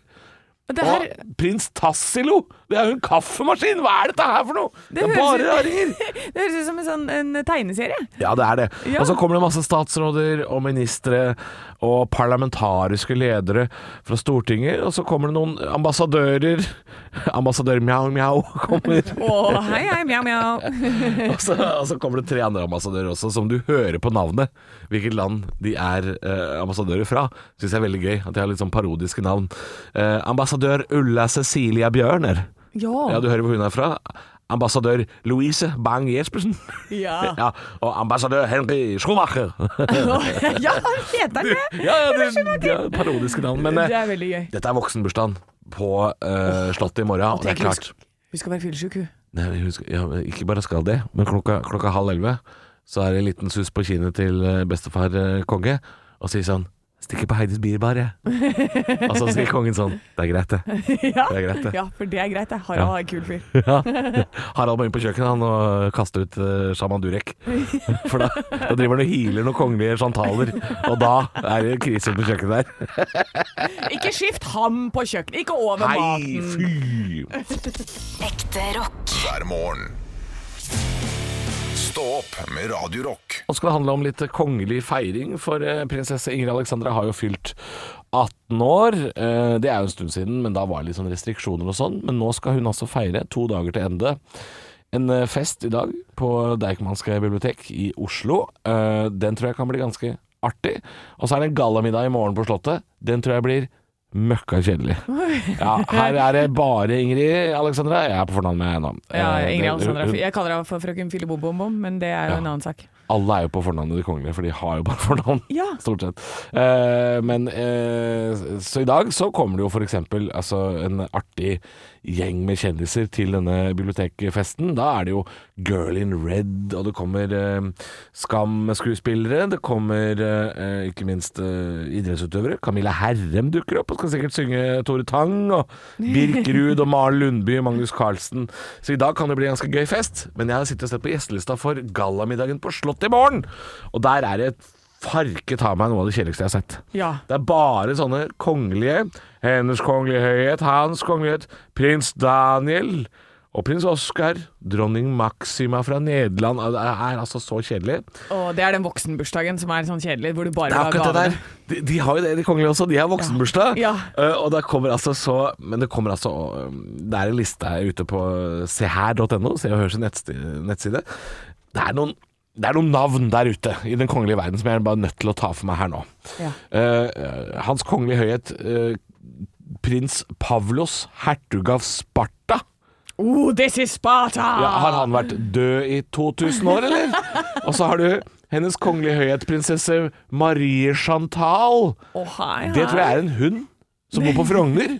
Det Og her- prins Tassilo! Det er jo en kaffemaskin! Hva er dette her for noe?! Det, er høres bare ut- raringer! [LAUGHS] Det høres ut som en, sånn, en tegneserie. [LAUGHS] Ja, det er det. Ja. Og så kommer det masse statsråder og ministre og parlamentariske ledere fra Stortinget, og så kommer det noen ambassadører. [LAUGHS] Ambassadør Mjau Mjau kommer. Å, hei, hei, mjau, mjau. [LAUGHS] Og så, og så kommer det tre andre ambassadører også, som du hører på navnet hvilket land de er eh, ambassadører fra. Syns jeg er veldig gøy at de har litt sånn parodiske navn. Eh, ambassadør Ulla Cecilia Bjørner. Ja. Ja, du hører hvor hun er fra. Ambassadør Louise Bang-Jespersen. Ja. [LAUGHS] ja. Og ambassadør Henry Schumacher. [LAUGHS] [LAUGHS] ja, heter han det? ja, ja, det, det er parodiske navn. Men eh, Det er veldig gøy. dette er voksenbursdagen på eh, Slottet i morgen, og det er tenk, klart. Hun skal være fyllesyk, hun. Nei, men husk, ja, men ikke bare skal det, men klokka, klokka halv elleve så er det en liten sus på kinnet til eh, bestefar eh, konge, og sier sånn Stikker på Heidis Bierbar, jeg. og så sier kongen sånn Det er greit, det. [LAUGHS] Ja. Det er greit, det. Ja, for det er greit, det. Harald er en kul fyr. Ja. Harald må inn på kjøkkenet han og kaste ut eh, sjaman Durek. For da, da driver han og hyler noen kongelige chantaler, og da er det krise på kjøkkenet der. Ikke skift ham på kjøkkenet, ikke over Hei, maten. fy! Ekte rock. hver morgen. Stå opp med Radio Rock. Nå skal det handle om litt kongelig feiring, for eh, prinsesse Ingrid Alexandra har jo fylt 18 år. Eh, Det er jo en stund siden, men da var det litt sånn restriksjoner og sånn. Men nå skal hun altså feire, to dager til ende, en eh, fest i dag på Deichmanske bibliotek i Oslo. Eh, Den tror jeg kan bli ganske artig. Og så er det en gallamiddag i morgen på Slottet. Den tror jeg blir møkka kjedelig. Ja, her er det bare Ingrid Alexandra. Jeg er på fornavn med henne. nå. Ja, Eh, Ingrid det- Alexandra. hun- Jeg kaller henne for frøken Filibobom, men det er jo Ja. en annen sak. alle er jo på fornavnet de kongelige, for de har jo bare fornavn, Ja. stort sett. Eh, men eh, Så i dag så kommer det jo f.eks. Altså, en artig gjeng med kjendiser til denne bibliotekfesten. Da er det jo Girl in Red, og det kommer eh, Skam-skuespillere. Det kommer eh, ikke minst eh, idrettsutøvere. Camilla Herrem dukker opp og skal sikkert synge Tore Tang. Og Birkerud og Maren Lundby og Magnus Carlsen. Så i dag kan det bli en ganske gøy fest. Men jeg har sittet og sett på gjestelista for gallamiddagen på Slottet i morgen. Og der er det farke ta meg noe av det kjedeligste jeg har sett. Ja. Det er bare sånne kongelige. Hennes kongelige høyhet, hans kongelighet, prins Daniel og prins Oscar. Dronning Maxima fra Nederland. Det er altså så kjedelig. Og det er den voksenbursdagen som er sånn kjedelig, hvor du bare Det vil er ha akkurat det der. gavene. De, de har jo det, de kongelige også. De har voksenbursdag. Ja. Eh, og det kommer altså så Men det kommer altså Det er en liste her ute på seher.no, Se og Hørs nettside. nettside. Det er noen det er noen navn der ute i den kongelige verden som jeg er bare nødt til å ta for meg her nå. Ja. Eh, Hans kongelige høyhet, eh, prins Pavlos, hertug av Sparta. Oh, this is Sparta! Ja, har han vært død i 2000 år, eller? Og så har du hennes kongelige høyhet, prinsesse Marie Chantal. Å, hei, hei. Det tror jeg er en hund som bor på Frogner.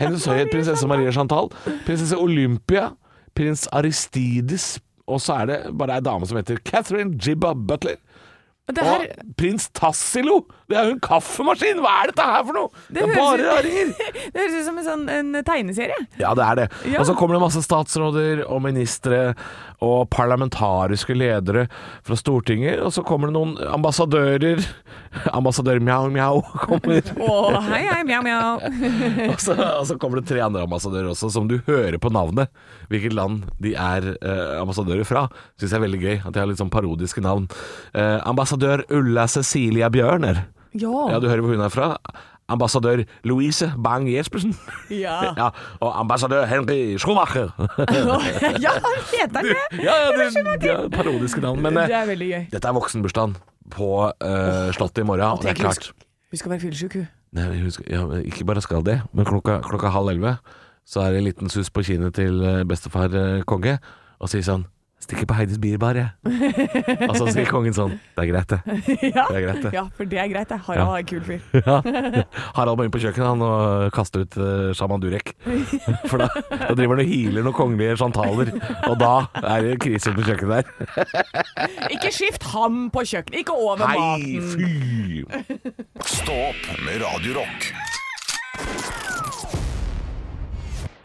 Hennes høyhet prinsesse Marie Chantal. Prinsesse Olympia. Prins Aristides. Og så er det bare ei dame som heter Catherine Jibba Butler. Det Og her, prins Tassilo! Det er jo en kaffemaskin! Hva er dette her for noe?! Det er høres ut- bare raringer! [LAUGHS] det høres ut som en, sånn, en tegneserie. Ja, det er det. Ja. Og så kommer det masse statsråder og ministre og parlamentariske ledere fra Stortinget, og så kommer det noen ambassadører. [LAUGHS] Ambassadør Mjau Mjau [LAUGHS] kommer. Å, hei, hei, mjau, mjau. og, så, og så kommer det tre andre ambassadører også, som du hører på navnet hvilket land de er eh, ambassadører fra. Syns jeg er veldig gøy at de har litt sånn parodiske navn. Eh, ambassadør Ulla Cecilia Bjørner. Ja, Ja. du hører hvor hun er fra. Ambassadør Louise Bang-Jespersen. Ja. [LAUGHS] Ja, og ambassadør Henry Schumacher. [LAUGHS] ja, heter han det? [LAUGHS] ja, ja, det, ja, parodiske navn. Men eh, Det er veldig gøy. dette er voksenbursdagen på eh, Slottet i morgen, og det er tenk, klart. Hun skal være fyllesyk, hun. Nei, men husk, ja, men ikke bare skal det, men klokka, klokka halv elleve så er det en liten sus på kinnet til eh, bestefar eh, konge og sier sånn Stikker på Heidis Bierbar, jeg. og så sier kongen sånn Det er greit, det. Ja. Det er greit, det. ja, for det er greit. det. Harald er en kul fyr. Ja. Harald må inn på kjøkkenet han og kaste ut eh, Shaman Durek. [LAUGHS] For da, da driver han og hyler noen kongelige chantaler, og da er det krise på kjøkkenet der. Ikke skift ham på kjøkkenet. Ikke over Hei, maten. fy! Stå opp med Radio Rock.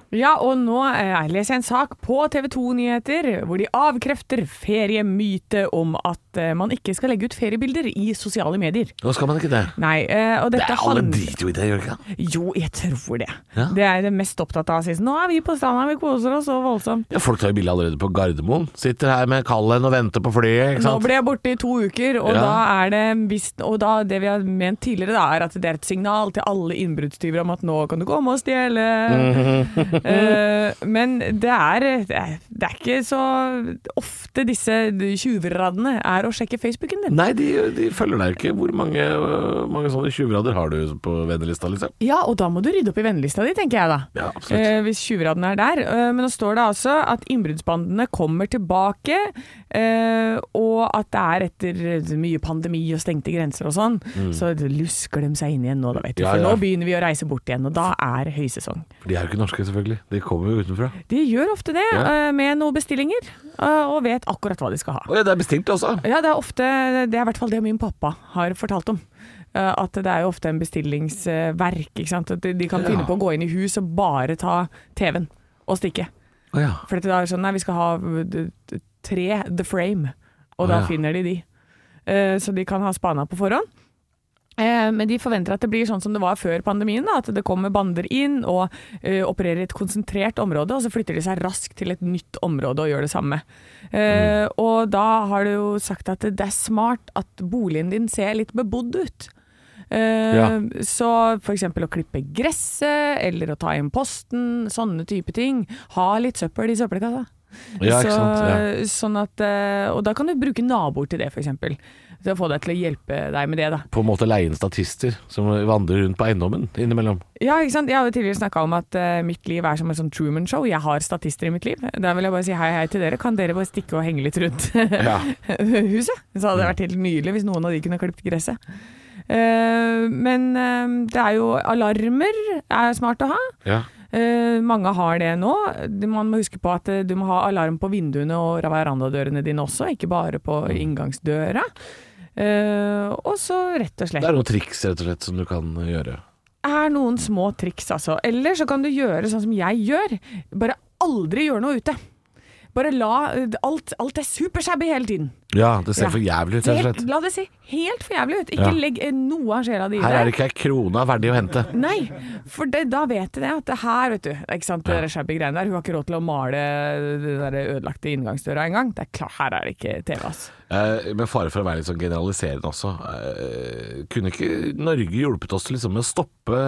Ja, og nå eh, leser jeg en sak på TV 2 Nyheter hvor de avkrefter feriemyte om at eh, man ikke skal legge ut feriebilder i sosiale medier. Nå skal man ikke det. Nei, eh, og Det dette er alle handler- driter jo i det, gjør de ikke det? Jo, jeg tror det. Ja. Det er jeg det mest opptatt av. Sist. Nå er vi på stranda, vi koser oss så voldsomt. Ja, folk tar jo bilde allerede på Gardermoen. Sitter her med Kallen og venter på flyet. ikke Nå sant? ble jeg borte i to uker, og Ja. da er det visst Og da, det vi har ment tidligere, da, er at det er et signal til alle innbruddstyver om at nå kan du komme og stjele. Mhm. [LAUGHS] Eh, men det er, det er Det er ikke så ofte disse tjuvradene er å sjekke Facebooken din. Nei, de, de følger deg ikke. Hvor mange, øh, mange sånne tjuvrader har du på vennelista, liksom? Ja, og da må du rydde opp i vennelista di, tenker jeg da. Ja, absolutt. Eh, hvis tjuvraden er der. Eh, men nå står det altså at innbruddsbandene kommer tilbake, eh, og at det er etter eh, mye pandemi og stengte grenser og sånn, så lusker de seg inn igjen nå, da vet du. Mm. Ja, For ja. nå begynner vi å reise bort igjen, og da er høysesong. For de er jo ikke norske, selvfølgelig. De kommer jo utenfra. De gjør ofte det, Ja. eh, med noen bestillinger, eh, og vet akkurat hva de skal ha. Å ja, det er bestilt også. Ja, det er ofte Det er i hvert fall det min pappa har fortalt om. Eh, At det er jo ofte en bestillingsverk. ikke sant? At de- de kan finne på å gå inn i hus og bare ta TV-en og stikke. Å ja. For det er det sånn Nei, vi skal ha uh, d- d- tre The Frame. Og Å, da ja. finner de de. Eh, Så de kan ha spana på forhånd. Eh, Men de forventer at det blir sånn som det var før pandemien. Da, at det kommer bander inn og eh, opererer i et konsentrert område, og så flytter de seg raskt til et nytt område og gjør det samme. Eh, Mm. Og da har du jo sagt at det er smart at boligen din ser litt bebodd ut. Eh, Ja. Så f.eks. å klippe gresset, eller å ta inn posten, sånne type ting. Ha litt søppel i søppelkassa. Ja, ikke så, sant. Ja. Sånn at, eh, og da kan du bruke naboer til det, f.eks. Til å få deg til å hjelpe deg med det. da På en måte leie inn statister som vandrer rundt på eiendommen innimellom. Ja, ikke sant? Jeg har jo tidligere snakka om at eh, mitt liv er som et sånn Truman-show. Jeg har statister i mitt liv. Da vil jeg bare si hei, hei til dere. Kan dere bare stikke og henge litt rundt Ja. [LAUGHS] huset? Så hadde det vært helt nydelig hvis noen av de kunne klippet gresset. Eh, men eh, det er jo alarmer er smart å ha. ja. Eh, mange har det nå. Du- Man må huske på at eh, du må ha alarm på vinduene og verandadørene dine også, ikke bare på inngangsdøra. Eh, og så rett og slett Det er noen triks rett og slett som du kan eh, gjøre. er noen små triks, altså. Eller så kan du gjøre sånn som jeg gjør. Bare aldri gjøre noe ute. Bare la alt, alt er supershabby hele tiden. Ja, det ser Ja. for jævlig ut, Se rett og helt, slett. la det se helt for jævlig ut. Ja. Ikke legg eh, noe av sjela di i Her er det. det ikke ei krone verdig å hente. Nei, for det, da vet jeg det. At det her, vet du. det er Ikke sant, det der shabby greiene der. Hun har ikke råd til å male den der ødelagte inngangsdøra engang. Det er klart, her er det ikke TV, ass. Eh, med fare for å være litt sånn generaliserende også. Eh, kunne ikke Norge hjulpet oss til liksom, med å stoppe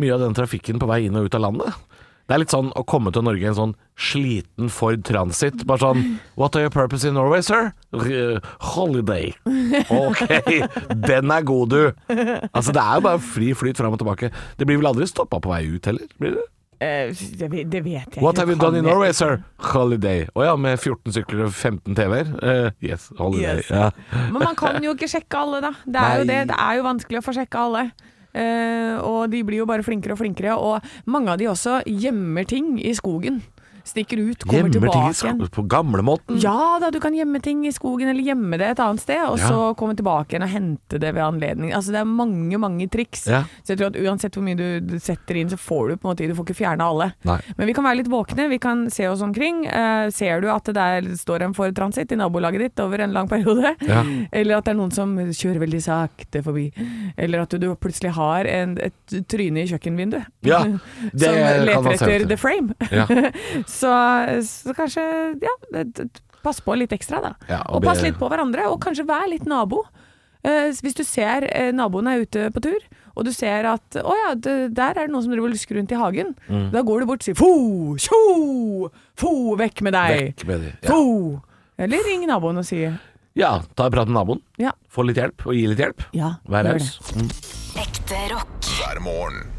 mye av den trafikken på vei inn og ut av landet? Det er litt sånn å komme til Norge i en sånn sliten Ford Transit. Bare sånn What are your purpose in Norway, sir? R holiday. Ok, [LAUGHS] den er god, du. Altså, det er jo bare fri flyt fram og tilbake. Det blir vel aldri stoppa på vei ut heller? Blir det? Eh, det, vet- det vet jeg What ikke. have you Kan done in jeg- Norway, sir? Holiday. Å ja, med 14 sykler og 15 TV-er? Eh, yes, holiday. Yes. Ja. Men man kan jo ikke sjekke alle, da. Det er jo Nei. det. Det er jo vanskelig å få sjekka alle. Eh, og de blir jo bare flinkere og flinkere. Og mange av de også gjemmer ting i skogen. Stikker ut, kommer Gjemmer ting i tilbake igjen. sk- på gamlemåten. Ja da, du kan gjemme ting i skogen eller gjemme det et annet sted, og Ja. så komme tilbake igjen og hente det ved anledning. Altså det er mange, mange triks. Ja. Så jeg tror at uansett hvor mye du, du setter inn, så får du på en måte Du får ikke fjerne alle. Nei. Men vi kan være litt våkne, vi kan se oss omkring. Eh, ser du at det der står en for transit i nabolaget ditt over en lang periode? Ja. [LAUGHS] Eller at det er noen som kjører veldig sakte forbi? Eller at du, du plutselig har en, et tryne i kjøkkenvinduet? Ja, det som kan leter man se etter til. the frame. [LAUGHS] Ja. så, så kanskje ja, d- d- pass på litt ekstra, da. Ja, og og pass be- litt på hverandre, og kanskje vær litt nabo. Eh, hvis du ser eh, naboen er ute på tur, og du ser at å ja, d- der er det noen som driver og lusker rundt i hagen, Mm. da går du bort og sier fo, tjo, fo, vekk med deg. Vekk med de. Ja. Fo. Eller ring naboen og si ja, ta en prat med naboen. ja. Få litt hjelp, og gi litt hjelp. Ja, Vær gjør raus. Ekte rock. hver morgen.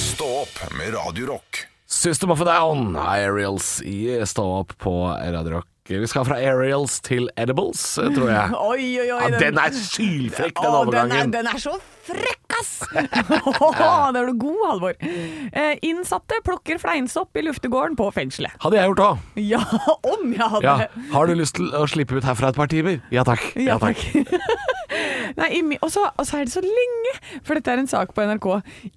Stå opp med Radio Rock. System of a Down, Aerials i Stå opp på Radio Rock. Vi skal fra Aerials til Edibles, tror jeg. [LAUGHS] Oi, oi, oi. Ja, den er sylfrekk, den Å, overgangen. Den er, den er så frekk, [LAUGHS] ass! Åh, da er du god, Halvor. Eh, innsatte plukker fleinsopp i luftegården på fengselet. Hadde jeg gjort òg. [LAUGHS] Ja, om jeg hadde Ja. Har du lyst til å slippe ut herfra et par timer? Ja takk. Ja, takk. [LAUGHS] Nei, i mi- og så og så er det så lenge, for dette er en sak på NRK.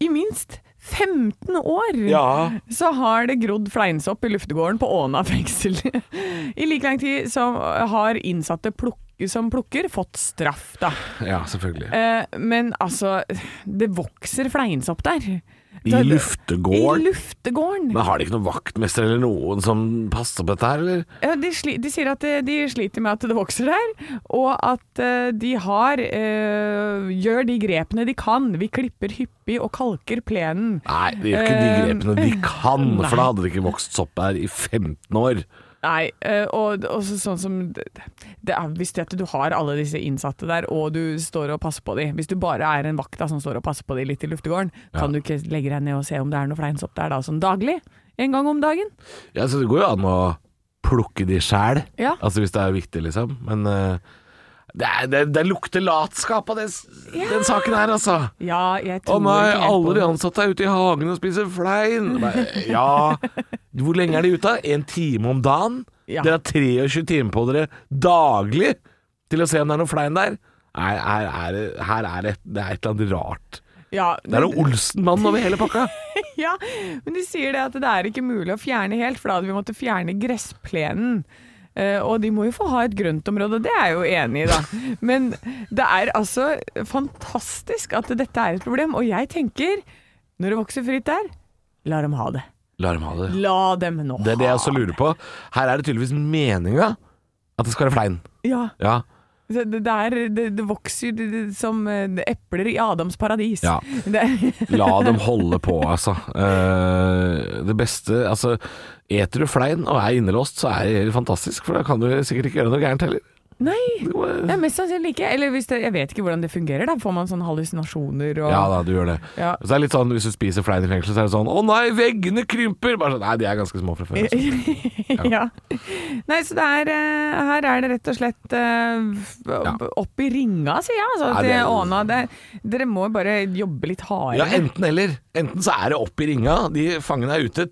I minst 15 år Ja. så har det grodd fleinsopp i luftegården på Åna fengsel. [LAUGHS] I like lang tid som har innsatte pluk som plukker fått straff, da. Ja, selvfølgelig. Eh, men altså, det vokser fleinsopp der. I I luftegården. luftegården. Men har de ikke noen vaktmester eller noen som passer på dette her, eller? Ja, de, sli, de sier at eh, de, de sliter med at det vokser der, og at eh, de har eh, gjør de grepene de kan. Vi klipper hyppig og kalker plenen. Nei, de gjør ikke de Eh, grepene de kan, nei. for da hadde det ikke vokst sopp her i 15 år. Nei, eh, og, og så, sånn som det, det er, Hvis det at du har alle disse innsatte der, og du står og passer på dem Hvis du bare er en vakt da, som står og passer på dem litt i luftegården, kan du ikke legge deg ned og se om det er noe fleinsopp der da, sånn daglig? En gang om dagen? Ja, så det går jo an å plukke de sjæl, Ja. altså hvis det er viktig, liksom. Men eh, det, er, det, det lukter latskap av det, s- den saken her, altså. Ja, jeg Å tror nei, ikke helt på alle de det. ansatte er ute i hagen og spiser flein. Nei, Ja, hvor lenge er de ute? En time om dagen? Ja. Dere har 23 timer på dere daglig til å se om det er noe flein der. Nei, her er det, her er det, det er et eller annet rart. ja, Det er noe Olsenmannen over hele pakka. [LAUGHS] Ja, men de sier det at det er ikke mulig å fjerne helt, for da hadde vi måttet fjerne gressplenen. Eh, og de må jo få ha et grøntområde, det er jeg jo enig [LAUGHS] i, da. Men det er altså fantastisk at dette er et problem, og jeg tenker, når det vokser fritt der, la dem ha det. La dem ha det. La dem nå Det er det jeg også ha lurer på. Her er det tydeligvis meninga at det skal være flein. Ja, Ja. det, det, er, det, det vokser det, det, som eh, epler i Adams paradis. Ja. [LAUGHS] Det, La dem holde på, altså. Eh, det beste Altså, eter du flein og er innelåst, så er det helt fantastisk, for da kan du sikkert ikke gjøre noe gærent heller. nei, Du det må- er mest sannsynlig ikke. Eller hvis det, jeg vet ikke hvordan det fungerer, da får man sånne hallusinasjoner og Ja da, du gjør det. Ja. Så det er litt sånn hvis du spiser flein i fengsel, så er det sånn 'Å nei, veggene krymper!' Bare sånn, Nei, de er ganske små fra før. altså. [LAUGHS] ja. Nei, så det er, eh, her er det rett og slett eh, opp i ringa, sier jeg. Altså, Ja, til det er- Åna. Det, dere må bare jobbe litt Ja, hardere. enten eller. Enten så er det opp i ringa, de fangene er ute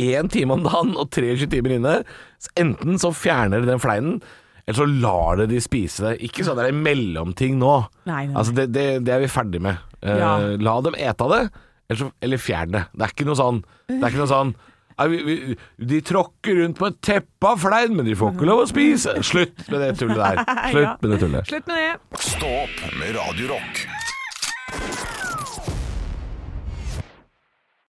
én time om dagen og 23 timer inne. Så enten så fjerner de den fleinen, eller så lar det de spise det. Ikke sånn det er en mellomting nå. Nei, nei, nei. Altså, det, det, det er vi ferdig med. Eh, Ja. La dem ete av det, eller, så, eller fjern det. Det er ikke noe sånn, det er ikke noe sånn «Nei, vi, vi, de tråkker rundt på et teppe av flein, men de får ikke lov å spise. Slutt med det tullet der. [LAUGHS] Ja. Slutt med det tullet. Slutt med det. Stå opp med Radio Rock.